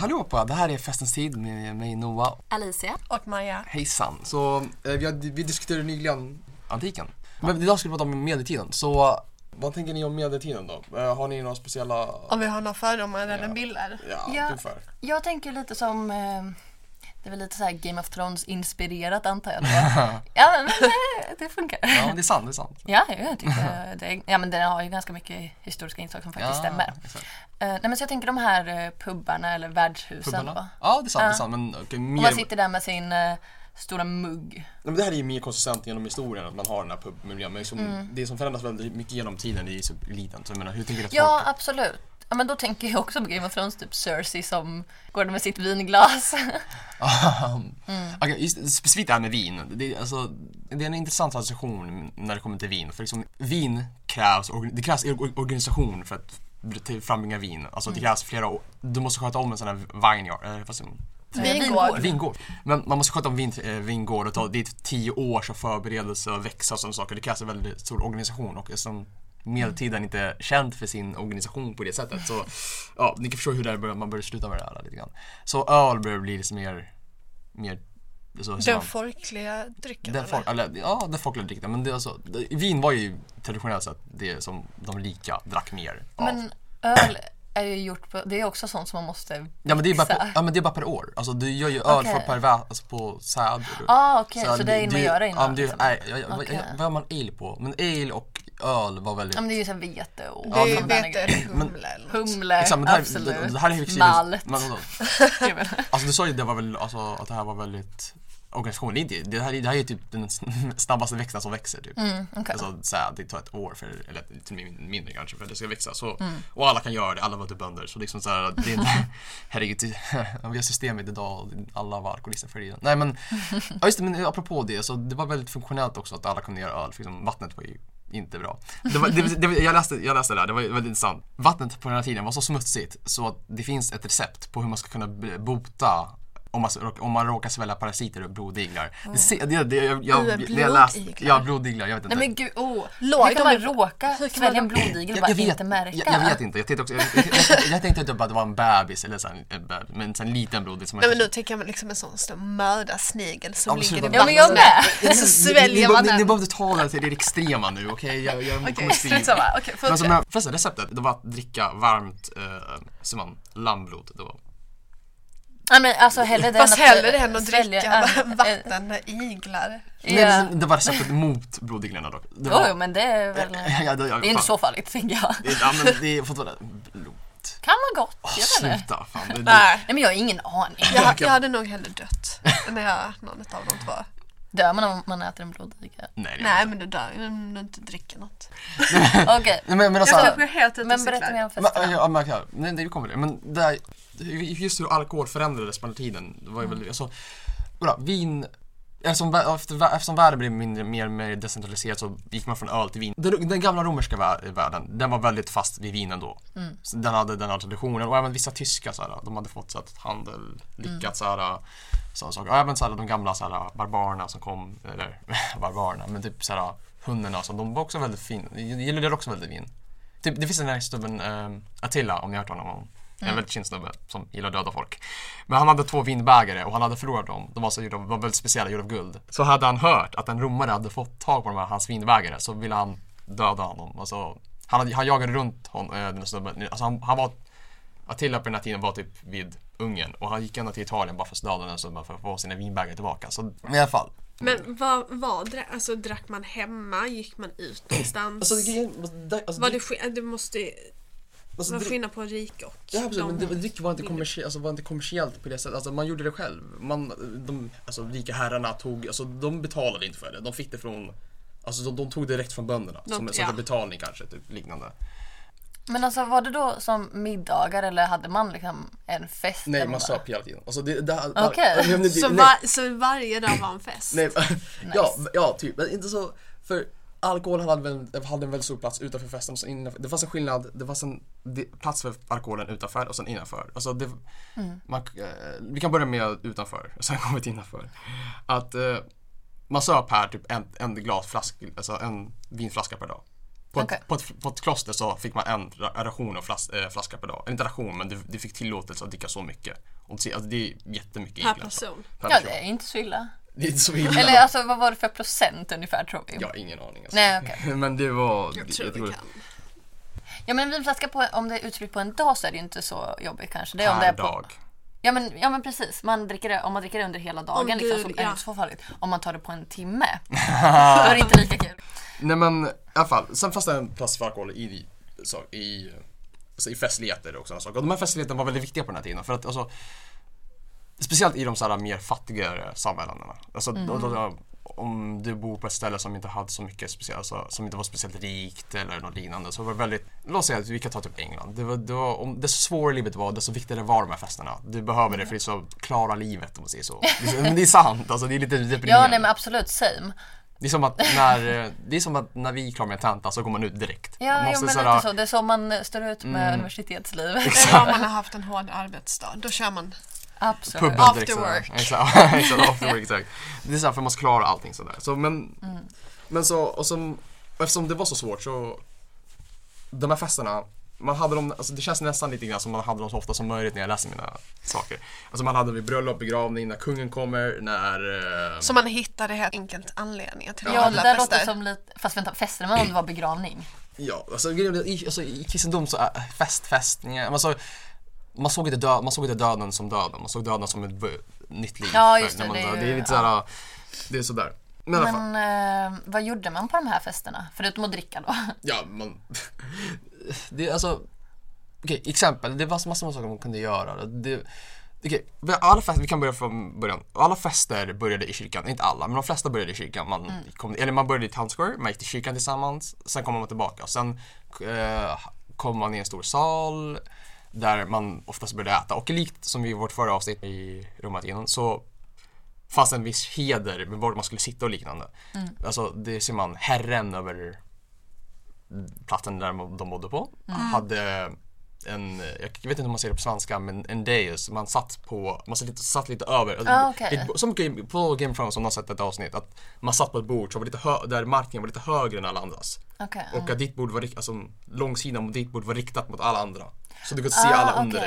Välkomna! Det här är Festens tid med mig Noah. Alicia. Och Maja. Hejsan! Så eh, vi, hade- vi diskuterade nyligen antiken. Men idag ska vi prata om medeltiden. Så vad tänker ni om medeltiden då? Eh, Har ni några speciella... Om vi har några fördomar Ja. eller bilder. Ja, Ja. ungefär. Jag tänker lite som, eh, det är väl lite så här Game of Thrones inspirerat antar jag. då. ja men eh, det funkar. Ja, men det är sant, det är sant. Ja, jag tycker det. Ja, men den har ju ganska mycket historiska inslag som faktiskt ja, stämmer. exakt. Eh, nej, men så jag tänker de här eh, pubbarna eller värdshusen då. Pubbarna? Ja, det är sant, det är Ja. sant. Men, okej, Och mer... man sitter där med sin eh, stora mugg. Nej, men det här är ju mer konsistent genom historien att man har den här pubmiljön. Men liksom, Mm. det som förändras väldigt mycket genom tiden är ju så eliten. Så jag menar, hur tänker du att Ja, absolut. Ja, men då tänker jag också på Game of Thrones, typ Cersei som går där med sitt vinglas. Ahem. Okej, just, specifikt det här med vin. Det, är- alltså, det är en intressant association när det kommer till vin. För liksom, vin krävs, orga- det krävs or- organisation för att till- frambringa vin. Alltså det krävs flera, o- du måste sköta om en sån här vineyard, eh, vad säger man? Vingård. Vingård. Men man måste sköta om vin, eh, vingård och ta, det är tio års av förberedelse och växa och sådana saker. Det krävs en väldigt stor organisation och som medeltiden inte är känd för sin organisation på det sättet. Så ja, ni kan förstå hur det här börjar, man börjar sluta med det här lite grann. Så öl börjar bli liksom mer, mer så, så Den man, folkliga drycken. den eller? folk, eller, ja, den folkliga drycken. Men det, är alltså, det, vin var ju traditionellt sett det som de rika drack mer av. Men öl är ju gjort på, det är också sånt som man måste ja, men det är bara på, mixa. ja men det är bara per år. Alltså du gör ju öl Okej. för per vä, alltså på säd. Ah, okej, så det är innan man gör det Ja, innan. men det, liksom. nej, jag- jag- Okej. jag- Vad gör man ale på? Men ale och öl var väldigt... Ja, men det är ju så här vete och Det är ju sån där grej. bete, humle eller något. Humle, Exakt, men det här, absolut. det, det här är ju liksom- Malt. Men, vadå? Jag vet inte. alltså du sa ju att det var väl, alltså, att det här var väldigt organisation. Det, är inte- det, här, är- det här är ju typ den snabbaste växten som växer typ. Mm, okej. Alltså så här, det tar ett år, för, eller lite min- mindre kanske, för att det ska växa. Så, Mm. Och alla kan göra det, alla var inte bönder. Så liksom så här, det är en, herregud, det- vi har systemet idag och alla var alkoholister förr i tiden. Nej men, ja, just det, men apropå det, så det var väldigt funktionellt också att alla kunde göra öl, för liksom, vattnet var ju inte bra. Det var, det, det, jag, läste, jag läste det där, det var väldigt intressant. Vattnet på den här tiden var så smutsigt så att det finns ett recept på hur man ska kunna b- bota om man, om man råkar svälja parasiter och blodiglar. Det, se- det, det, jag, jag, jag, jag läste, blodiglar? ja blodiglar, jag vet inte. Nej men gud, oh. Låg hur kan de man i- råka hur kan svälja en man- blodigel och bara inte märka? Jag, jag vet inte, jag tänkte också, jag, jag, jag, jag tänkte typ att det var en bebis eller så här, en bebis, men så en liten blodig som man Nej men nu tänker jag liksom en sån stor mördarsnigel som men ligger i sluta. vattnet. Ja men jag med! Ni- Så ni, sväljer ni, man ni, ni den. behöver inte ta det till det extrema nu, okej? Jag, jag kommer Okej, slutsamma. Okej, Men alltså, fortsätt. men förresten, receptet det var att dricka varmt, eh, som man, lammblod. Det var. Nej men alltså hellre den Fast hellre det än att svälja dricka en- en- vatten med iglar. Nej, Ja. men det var receptet mot blodiglarna dock. Det Jo, var, jo, men det är väl... ja, det, Det är inte så farligt, tänker jag. Ja, men det är fortfarande blod. Kan vara gott, Åh, jag vet inte. sluta, fan. Det, det, Nej. Nej men jag har ingen aning. Jag, jag hade nog hellre dött än jag hört någon av de två. Dör man om man äter en blodigel? nej, det Nej men du dör ju om du inte dricker något. Okej, Nej, men, men alltså, Jag Jag tror- kanske är helt ute och men berätta mer om cyklar. Men, festerna. ja, men, ja, nej, nej, vi kommer till det. Men det här, just hur alkohol förändrades med tiden. Det var ju väl, alltså, kolla, vin, eftersom, vä- efter- eftersom världen blev mindre, mer och mer decentraliserad så gick man från öl till vin. Den, den gamla romerska vä- världen, den var väldigt fast vid vinen då. Så Den hade den här traditionen och även vissa tyskar så här, de hade fått så att handel, lyckats så här sådana saker. Och även så här, de gamla så här, barbarerna som kom, eller barbarerna, men typ så här, hundarna, så de var också väldigt fina, gillade också väldigt vin. Typ, det finns den här snubben um, Attila, om ni har hört honom. om. Mm. En väldigt känd snubbe som gillar att döda folk. Men han hade två vinbägare och han hade förlorat dem. De var, så, gjorda- var väldigt speciella, gjorda av guld. Så hade han hört att en romare hade fått tag på de här, hans vinbägare så ville han döda honom. Alltså, han, hade, han jagade runt hon, eh, den här snubben. Alltså, han, han var, Attila på den här tiden var typ vid Ungern och han gick ända till Italien bara för att döda den här snubben för att få sina vinbägare tillbaka. Så, men i alla fall, Men vad var det? Alltså drack man hemma? Gick man ut någonstans? Alltså, grejen- alltså, var drick- det, sk- det måste ju alltså, vara drick- skillnad på rik och Ja absolut, men de- det, dryck var inte, kommersie, alltså, var inte kommersiellt på det sättet. Alltså, man gjorde det själv. Man, de alltså, rika herrarna tog, alltså, de betalade inte för det. De fick det från, alltså, de, de tog det direkt från bönderna. De- som en ja. sorts betalning kanske, typ, liknande. Men alltså var det då som middagar eller hade man liksom en fest? Nej, där man bara- söp hela tiden. Alltså, det, det, det, Okej. Nej, men det- Så, nej. var, så varje dag var en fest? Nej, ja, ja, typ. Men inte så, för alkohol hade, väl- hade en väldigt stor plats utanför festen och sen innanför. Det fanns en skillnad, det fanns en det, plats för alkoholen utanför och sen innanför. Alltså det, Mm. man, eh, vi kan börja med utanför och sen kommer vi till innanför. Att eh, man söp här typ en, en glasflask, alltså en vinflaska per dag. På, Okej. ett, på, ett, på ett kloster så fick man en ra- ration av flas, eh, flaska per dag. Eller Inte ration, men du, du fick tillåtelse att dricka så mycket. Och det, alltså, det är jättemycket Per egentligen. person. Per Ja, person. det är inte så illa. Det är inte så illa. Eller alltså vad var det för procent ungefär tror vi? Jag har ingen aning alltså. Nej okej. Men det var... Jag det- tror vi tror- kan. Ja men en vinflaska på, om det är utspritt på en dag så är det ju inte så jobbigt kanske. Det är om det Per är på, dag. ja, men, ja men precis, man dricker det, om man dricker det under hela dagen Om du- liksom, så är det ja. inte så farligt. Om man tar det på en timme, då är det inte lika kul. Nej men i alla fall, sen fanns det en plats för alkohol i, så, i, alltså, i festligheter och sådana saker. Och de här festligheterna var väldigt viktiga på den här tiden för att alltså, Speciellt i de så här mer fattigare samhällena. Alltså, Mm. då, då, då, om du bor på ett ställe som inte hade så mycket speciellt, alltså, som inte var speciellt rikt eller något liknande så var det väldigt, låt säga att vi kan ta typ England. Det var, det var, om, desto svårare livet var, desto viktigare var de här festerna. Du behöver det för att Mm. så klara livet om man säger så. Det är så- Men det är sant, alltså, det är lite deprimerande. Ja nej men absolut, same. Det är som att när, eh, det är som att när vi är klara med tenta så går man ut direkt. Man Mm. Ja, jo, men såhär, lite så. Det är så man eh, står ut med universitetsliv. Eller om man har haft en hård arbetsdag, då kör man. Absolut. Puben direkt. After sådär. work. Exakt, exakt, after work. Exakt. Det är såhär för man ska klara allting sådär. Så, men, Mm. men så, och som, och eftersom det var så svårt så, de här festerna, man hade dem, alltså det känns nästan lite grann som man hade dem så ofta som möjligt när jag läser mina saker. Alltså man hade dem vid bröllop, begravning, när kungen kommer, när... Eh, Så man hittade helt enkelt anledningar till Ja, det alla där låter fester. som lite... Fast vänta, fester man om det var begravning? Ja, alltså, grejen är- i, alltså i kristendom så är fest, festningar, alltså, man, såg inte dö, man såg inte döden som döden, man såg döden som ett bu- nytt liv. Ja, just När det, man det är dör. ju- det är lite såhär, det är sådär. Men, i alla fall, Men eh, vad gjorde man på de här festerna? Förutom att dricka då? ja man... det är alltså, okej exempel, det var massor av saker man kunde göra. Det, Okej, vi- alla fester, vi kan börja från början. Alla fester började i kyrkan, inte alla, men de flesta började i kyrkan. Man, kom, eller man började i Town Square, man gick till kyrkan tillsammans, sen kom man tillbaka. Sen eh, kom man i en stor sal där man oftast började äta. Och likt som i vårt förra avsnitt i Romartiden så fanns det en viss heder med var man skulle sitta och liknande. Mm. Alltså, det ser man, herren över platsen där de bodde på Mm. hade en, jag vet inte om man säger det på svenska, men en deus. Man satt på, man satt lite, satt lite över. Alltså, Ah, okej. det- som game, på Game of Thrones om man har sett ett avsnitt, att man satt på ett bord som var lite hö, där marken var lite högre än alla andras. Okej. Och att ditt bord var, rikt- alltså långsidan mot ditt bord var riktat mot alla andra. Så du kunde se alla Ah, okej. Mm. under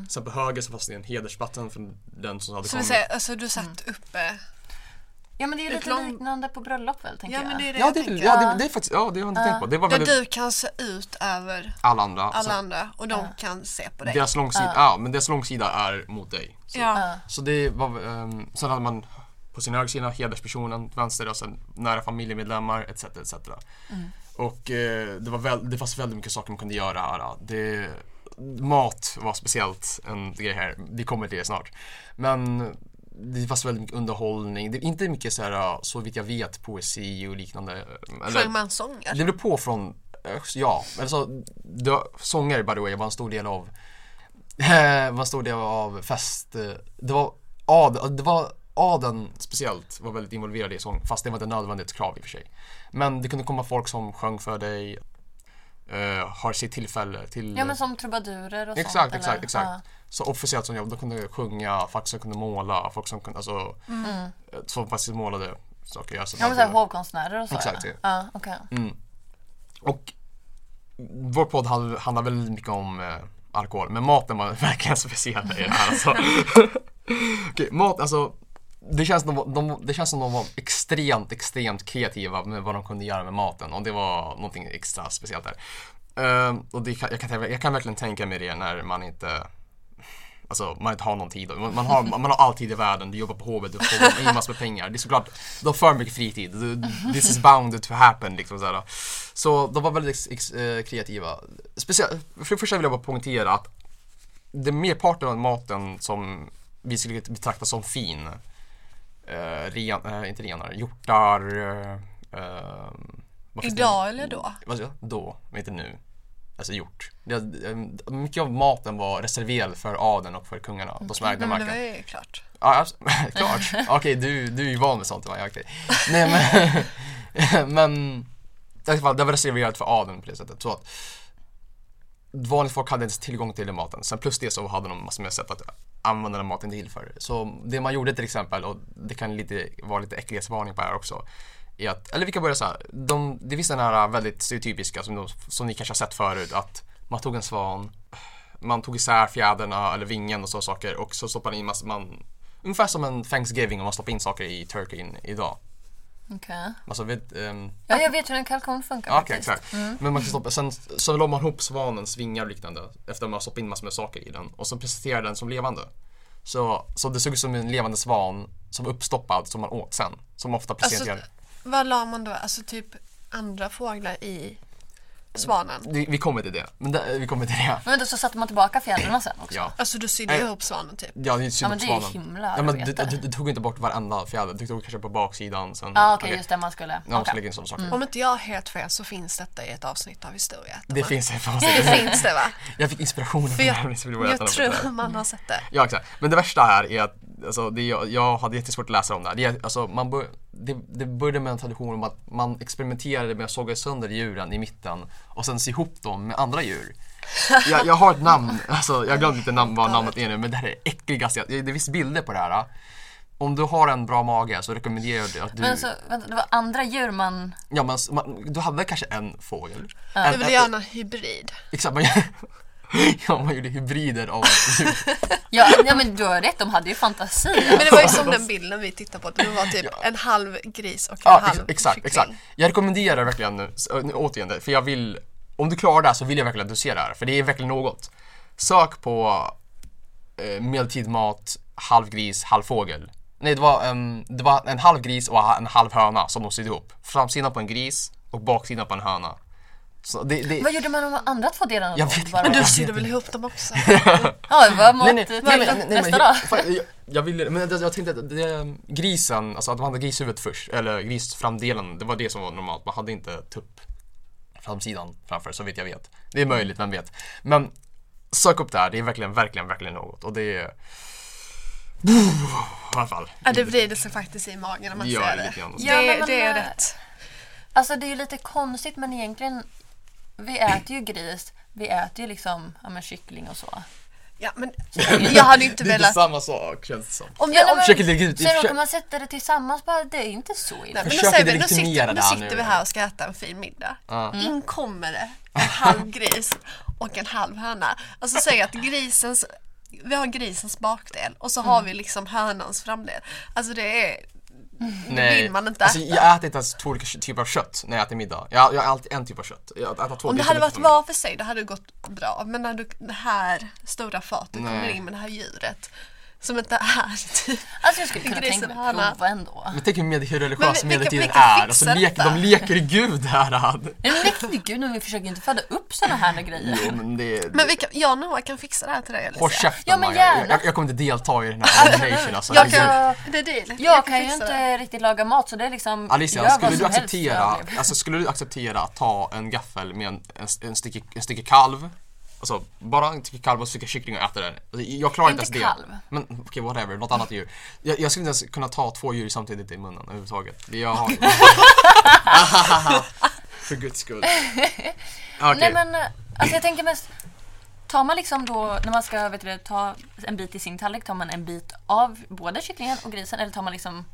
dig. Sen på höger så fanns det en hedersplatten för den som hade Så vi kommit. säger, alltså du satt Mm. eh, uppe. Ja men det är ju Ett lite lång- liknande på bröllop väl tänker Ja men det är det ja, jag det, är- tänker. ja, det, det är faktiskt, ja det har jag inte tänkt på. Det var Där väldigt, du kan se ut över alla andra. alla så, andra och de kan se på dig. deras långsida, ja men deras långsida är mot dig. Så. Ja. Så det var, um, sen hade man på sin högersida hederspersonen, vänster och sen nära familjemedlemmar etc. etc. Och eh, det, var väl, det fanns väldigt mycket saker man kunde göra här. ja. Det, mat var speciellt en grej här, vi kommer till det snart. Men det fanns väldigt mycket underhållning, det, inte mycket så här, ja, så vitt jag vet, poesi och liknande. eh, Eller- Sjöng man sånger? det blev på från, eh, ja, alltså dö- sånger by the way var en stor del av, eh, var en stor del av fest, eh, det var ad, det var adeln speciellt var väldigt involverad i sång, fast det var inte nödvändigt krav i och för sig. Men det kunde komma folk som sjöng för dig, eh, har sitt tillfälle till Ja men som trubadurer och sånt. Exakt, eller? exakt, exakt. Ja. Så officiellt som jobb, då kunde jag sjunga, folk som kunde måla, folk som kunde, alltså, eh, som faktiskt målade saker. Alltså, Mm. Ja men såhär hovkonstnärer och så. Exakt, ja. ja. Mm. Ja, okej. Och vår podd handl- handlar väldigt mycket om eh, alkohol, men maten var verkligen speciell i det här alltså. Okej, mat alltså. Det känns, som de, de, det känns som de var extremt, extremt kreativa med vad de kunde göra med maten och det var någonting extra speciellt där. Ehm, och det, kan- jag, kan, jag kan verkligen tänka mig det när man inte Alltså man inte har någon tid. Man, man, har, man har all tid i världen, du jobbar på hovet, du får in massor med pengar. Det är såklart, du har för mycket fritid. Du- This is bound to happen liksom så, här. så de var väldigt ex, ex, eh, kreativa. Speciellt, för det första vill jag bara poängtera att det merparten av maten som vi skulle betrakta som fin, eh, ren, eh, inte renare, hjortar, eh, eh, vad finns det? Idag eller då? Vad sa jag? Då, men inte nu. Alltså gjort. Det, ehm, mycket av maten var reserverad för adeln och för kungarna, de som ägde Mm. Nej, men det marken. var Ja, ju klart. abs- klart. Okej, du, du är ju van med sånt. va? Ja, okej. Nej, men, men i alla fall, det var reserverat för adeln på det sättet. Så att vanligt folk hade inte tillgång till den maten. Sen plus det så hade de massor med sätt att använda den maten till för. Så det man gjorde till exempel, och det kan lite, vara lite äcklighetsvarning på här också. är att, eller vi kan börja så här. De, det finns den här väldigt stereotypiska som, de, som ni kanske har sett förut att man tog en svan, man tog isär fjäderna eller vingen och sådana saker och så stoppade man in massa, man, ungefär som en Thanksgiving om man stoppar in saker i turkeyn idag. Okej. Alltså, vet, ehm, Ja, jag vet hur en kalkon funkar Ja, Okej, faktiskt. Mm. exakt. Men man kan stoppa, sen så la man ihop svanens vingar och liknande efter att man stoppat in massor med saker i den och så presenterade den som levande. Så, så det såg ut som en levande svan som var uppstoppad som man åt sen. Som ofta Alltså- presenterar. Alltså, Vad la man då? Alltså typ andra fåglar i svanen? Vi, vi kommer till det. Men det, vi kommer till det. Men då så satte man tillbaka fjädrarna sen också. Ja. Alltså du sydde Nej. ihop svanen typ. Ja, det är synd men om det är ju svanen. himla ja, men du, arbete. du, du tog inte bort varenda fjäder. Du tog kanske på baksidan sen. Ja, okej, okej. just det man skulle. Ja, man ska Okej. Mm. lägga in sådana saker. Om inte jag har helt fel så finns detta i ett avsnitt av historia. Det finns det. det finns det va? Jag fick inspiration av För det här. jag, så vill jag äta jag något. tror man har sett det. Ja exakt. Men det värsta här är att alltså, det, jag, jag hade jättesvårt att läsa om det här. Det, är- alltså, man bör, det, det började med en tradition om att man experimenterade med att såga sönder djuren i mitten och sen sy ihop dem med andra djur. Jag, jag har ett namn, alltså, jag glömde inte namn, vad namnet är nu men det här är det äckligaste. jag- Det finns bilder på det här. Om du har en bra mage så rekommenderar jag att du... Men så, vänta, det var andra djur man... ja, men, s- man, du hade kanske en fågel. Du En, vill en, göra en hybrid. exakt, man, ja, man gjorde hybrider av djur. Ja, ja men du har rätt, de hade ju fantasi. Men det var ju som den bilden vi tittade på. Det var typ en halv gris och en Ja, halv ex- exakt, kyckling. exakt. Jag rekommenderar verkligen nu, s- ö, nu återigen det, för jag vill, om du klarar det här så vill jag verkligen att du ser det här, för det är verkligen något. Sök på eh, medeltidmat, halv gris, halv fågel. Nej, det var, ehm, det var en halv gris och en halv höna som de sydde ihop. Framsidan på en gris och baksidan på en höna. Så det, det, Vad gjorde man med de andra två delarna Jag då? vet Bara- inte. Du sydde väl ihop dem också? Ja, det var Nej, mot nej, nej, nej, nej, nej, nästa men- dag. fan, jag, jag ville, men jag, jag tänkte att det, grisen, alltså att man hade grishuvudet först, eller grisframdelen, det var det som var normalt. Man hade inte tupp framsidan framför, så vitt jag vet. Det är möjligt, vem vet. Men sök upp det här, det är verkligen, verkligen, verkligen något. Och det är... I alla fall. Ja, det vrider sig faktiskt i magen om man Ja, ser lite det. grann. Ja, det, men man- det är rätt. Alltså det är ju lite konstigt men egentligen, vi äter ju gris, vi äter ju liksom ja, men kyckling och så. Ja, men jag hade ju inte Det är inte velat... samma sak, känns det som. Om Ja, jag, nej, om, men- Försöker lägga ut- Sen råkar försök- man sätta det tillsammans bara, det är inte så illa. nej, men nu, försöker säger vi, nu, legitimera sitter, det nu här nu. sitter vi här och ska äta en fin middag. Ja. Mm. In kommer det en halv gris och en halv höna. Alltså säg att grisens... Vi har grisens bakdel och så Mm. har vi liksom hönans framdel. Alltså det är... Nej. vill man inte Alltså, äta. jag äter inte ens två olika typer av kött när jag äter middag. Jag, jag äter alltid en typ av kött. Jag äter två Om det är så mycket hade varit för mig. var för sig då hade det gått bra. Men när du, det här stora fatet kommer Nej. in med det här djuret som inte är typ... Alltså jag skulle kunna Grisen tänka mig hörna. att prova ändå. Men tänk hur, med, hur Men religiös vi- medeltiden vilka- vilka är. Alltså, fixar lek, de detta? leker gud här. Ad. Nej men det är inte gud, men vi försöker inte föda upp sådana här grejer. Jo, men det... Men vi kan, jag och Noah kan fixa det här till dig Alicia. Håll käften Ja, men Maja. gärna. Jag, jag kommer inte delta i den här nomination alltså. Jag Herregud. kan, det är deal. Jag kan ju fixa inte det. riktigt laga mat så det är liksom, Alicia, gör vad skulle du, som helst, acceptera, jag lever. alltså, skulle du acceptera att ta en gaffel med en, en, en, stycke, en stycke kalv? Alltså bara en stycke kalv och en stycke kyckling och äta den. Alltså, jag klarar inte, Inte ens kalv. det. Men okej, whatever, något annat djur. Jag, jag skulle inte ens kunna ta två djur samtidigt i munnen överhuvudtaget. Det Jag har... För guds skull. Okej. Nej men, eh, alltså jag tänker mest, tar man liksom då, när man ska vet du, det, ta en bit i sin tallrik, tar man en bit av både kycklingen och grisen eller tar man liksom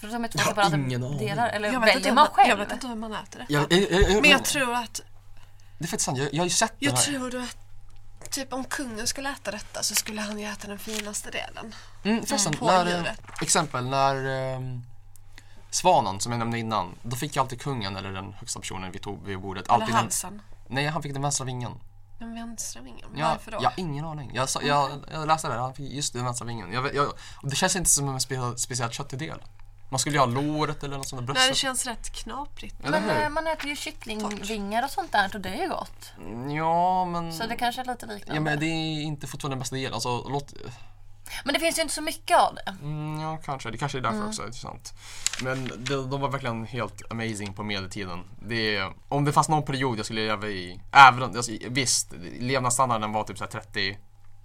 för de är två Jag har separata ingen aning. delar, eller Jag vet, inte väljer hur man man, själv? jag vet inte hur man äter det. Jag, jag, jag, jag, Men jag tror att, Det är faktiskt sant, jag, jag har ju sett jag det här. tror att Typ om kungen skulle äta detta så skulle han ju äta den finaste delen. Mm, förresten, på när, eh, djuret. exempel när ehm, svanen som jag nämnde innan, då fick ju alltid kungen eller den högsta personen vid, tog, vid bordet Eller alltid den, halsen. Nej, han fick den vänstra vingen. Den vänstra vingen. Jag, Varför då? Mm. Jag har ingen aning. Jag, sa, jag, jag läste det, här, han fick just den vänstra vingen. Jag, vet- jag, och det känns inte som en speciell, speciell köttig del. Man skulle ju ha låret eller något sånt där Nej, det bröstet. känns rätt knaprigt. Eller Men eh, hur? man äter ju kycklingvingar och sånt där och det är ju gott. Ja, men... Så det kanske är lite liknande. Ja, men men, det... det är inte fortfarande den bästa delen. Alltså, låt... finns ju inte så mycket av det. Mm, ja, kanske. Det kanske är därför Mm. också. Det är sant. Men de, de var verkligen helt amazing på medeltiden. Det, är- om det fanns någon period jag skulle leva i, även om, alltså, visst, levnadsstandarden var typ så här 30,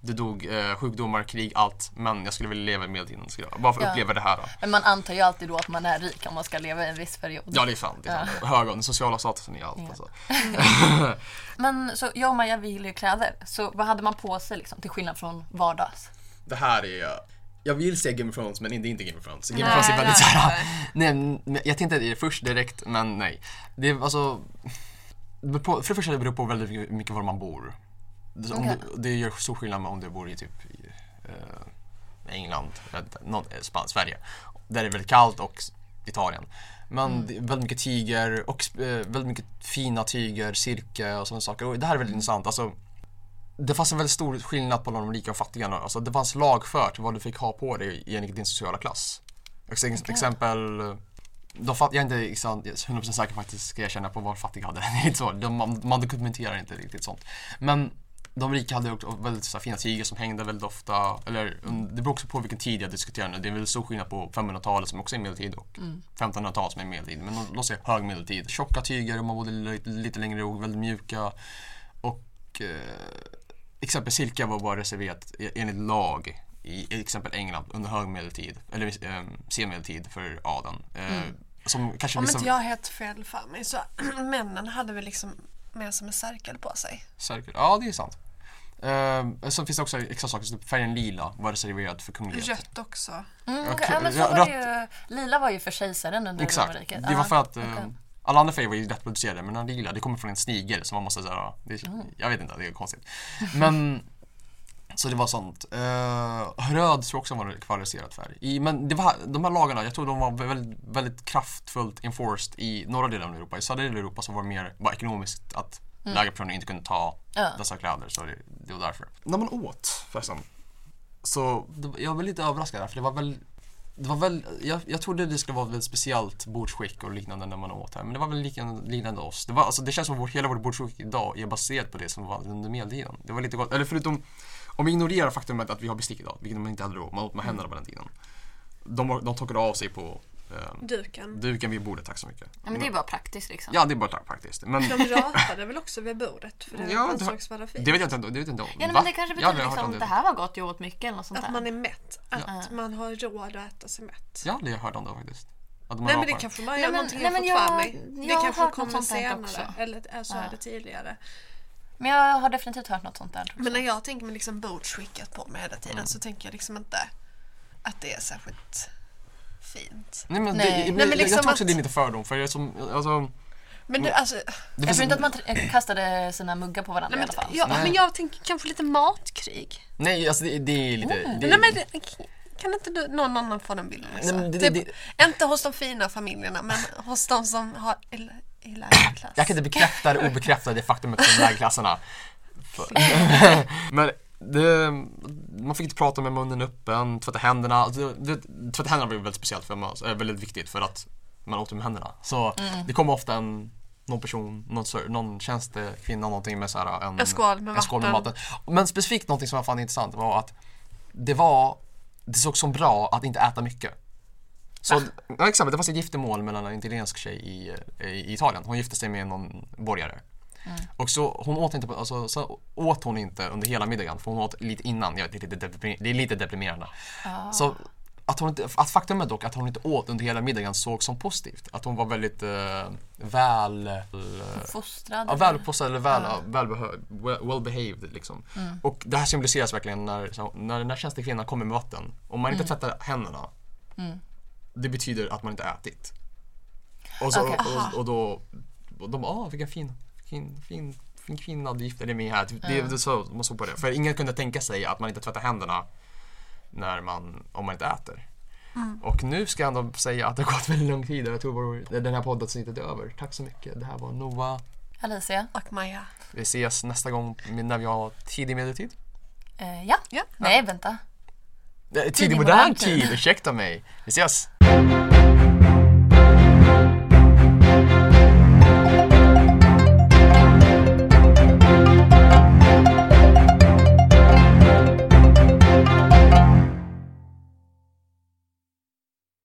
det dog eh, sjukdomar, krig, allt. Men jag skulle vilja leva i medeltiden. Skulle jag, bara för att Ja. uppleva det här. Då. Men man antar ju alltid då att man är rik om man ska leva i en viss period. Ja, det är fan. Det är fan. Högon, den sociala statusen är allt. Ja. Alltså. Men så jag och Maja vi gillar ju kläder. Så vad hade man på sig liksom till skillnad från vardags? Det här är jag vill säga Game of Thrones men det är inte Game of Thrones. Game Nej, of Thrones är väldigt nej, såhär, nej, men jag tänkte det först direkt men nej. Det är alltså, det beror på- för det första det beror på väldigt mycket var man bor. Det, om Okej. du, det gör stor skillnad om du bor i typ i, eh, England, jag vet inte, någon, eh, Span- Sverige, där det är väldigt kallt och s- Italien. Men Mm. det är väldigt mycket tyger och sp- eh, väldigt mycket fina tyger, silke och sådana saker. Och det här är väldigt Mm. intressant. Alltså, det fanns en väldigt stor skillnad på de rika och fattiga. nu. Alltså, det fanns lagfört vad du fick ha på dig enligt din sociala klass. Ex- ex- Exempel, de fatt, jag är inte exakt- 100% säker faktiskt ska jag känna på vad fattiga hade. Det är inte så. De, man, man dokumenterar inte riktigt sånt. Men de rika hade också väldigt så här, fina tyger som hängde väldigt ofta. Eller, mm, det beror också på vilken tid jag diskuterar nu. Det är väldigt stor skillnad på 500-talet som också är medeltid och 1500-talet som är medeltid. Men lå- låt säga hög medeltid. Tjocka tyger, man bodde lite, lite längre och väldigt mjuka. Och eh, exempelvis silke var bara reserverat e- enligt lag i i exempel England under högmedeltid eller eh, senmedeltid för adeln. Eh, Som kanske liksom Om vissa... inte jag har helt fel för mig så männen hade väl liksom med som en cirkel på sig. Särskilt. Ja, det är sant. Eh, sen finns det också extra saker, som typ färgen lila var reserverad för kunglighet. Rött också. Mm, Okej, okej. ja, men så ja, var det rött. ju, lila var ju för kejsaren under Exakt. romarriket. Det var Ja. för att eh, okej. alla andra färger var ju lättproducerade men den lila, det kommer från en snigel som man måste säga, det, Mm. jag vet inte, det är konstigt. Men Så det var sånt. Eh, röd tror jag också var en kvalificerad färg. I, men det var, de här lagarna, jag tror de var väldigt, väldigt kraftfullt enforced i norra delen av Europa. I södra delen av Europa så var det mer bara ekonomiskt att lägre personer inte kunde ta Mm. Ja. dessa kläder. Så det, det var därför. När man åt förresten. Så det, jag var lite överraskad där för det var väl det var väl, jag, jag trodde det skulle vara väldigt speciellt bordsskick och liknande när man åt här men det var väl liknande, liknande oss. Det, var, alltså, det känns som att vår, hela vårt bordsskick idag är baserat på det som var under medeltiden. Det var lite gott, eller förutom om vi ignorerar faktumet att vi har bestick idag, vilket man inte hade då, man Mm. åt med händerna på den tiden. De, var- de torkade av sig på eh, Mm. Duken. duken vid bordet, tack så mycket. Ja, men det är bara praktiskt liksom. Ja, det är bara tack faktiskt. Men De ratade väl också vid bordet för det Ja, var en det har- slags varafi. det vet jag inte, det vet jag inte om. Ja, nej, Va? men det kanske Jag har aldrig betyder hört om liksom, det här var gott, jag åt mycket eller något sånt Att där. man är mätt. Att man har råd att äta sig mätt. Jag har aldrig hört om det faktiskt. Att man Nej men det rapar. kanske man Nej, gör men- någonting nej, jag men fått jag- för mig. Det Jag har kanske hört något kommer sånt där senare. också. Eller är så Ja. är det tidigare. Men jag har definitivt hört något sånt där. Men när jag tänker mig liksom bordsskicket på mig hela Mm. tiden så tänker jag liksom inte att det är särskilt fint. Nej men, Nej. Det, Nej, men men jag- jag liksom tror också att- det är lite fördom för jag är som, alltså, Men du, alltså, det Jag finns tror inte att man tr- kastade sina muggar på varandra nej, i alla fall. men, ja, men jag tänker kanske lite matkrig. Nej alltså det, det är lite, det, Nej, men, det- kan inte du, någon annan få den bilden? Liksom? men det- det- typ, Inte hos de fina familjerna, men hos de som har i, i lägre klass. Jag kan inte bekräfta eller obekräfta det faktumet från lägklasserna. Men det, man fick inte prata med munnen öppen, tvätta händerna. Alltså, Det, det, tvätta händerna blev väldigt speciellt för mig, är väldigt viktigt för att man åt med händerna. Så Mm. det kom ofta en, någon person, någon, ser- någon tjänstekvinna någonting med så här, en, En skål med en skål med vatten. maten. Men specifikt någonting som jag fann intressant var att det var, det såg som bra att inte äta mycket. Så, ja, exempel, det fanns ett giftermål mellan en italiensk tjej i, eh, i Italien. Hon gifte sig med någon borgare. Och så, hon åt inte, på- alltså, så åt hon inte under hela middagen för hon åt lite innan. Ja, det, är lite deprimer- det är lite deprimerande. Så att, hon inte, att faktumet dock att hon inte åt under hela middagen såg som positivt. Att hon var väldigt eh, väl... eh, Fostrad. Ja, välpostad eller väl, välbehö- well, well behaved liksom. Och det här symboliseras verkligen när, så- när den här tjänstekvinnan kommer med vatten. Om man inte tvättar händerna, det betyder att man inte ätit. Och, så, Okej. och, och, och då, och de bara, ah vilken fin, fin, fin, fin kvinna du gifte dig med här. Typ, Det, det, så, man såg på det. För ingen kunde tänka sig att man inte tvättar händerna när man, om man inte äter. Och nu ska jag ändå säga att det har gått väldigt lång tid och jag tror vår- den här poddavsnittet är över. Tack så mycket. Det här var Noah. Alicia. Och Maja. Vi ses nästa gång när vi har tidig medeltid. Eh, ja. Ja. Nej, vänta. Eh, Tidig modern tid, ursäkta mig. Vi ses!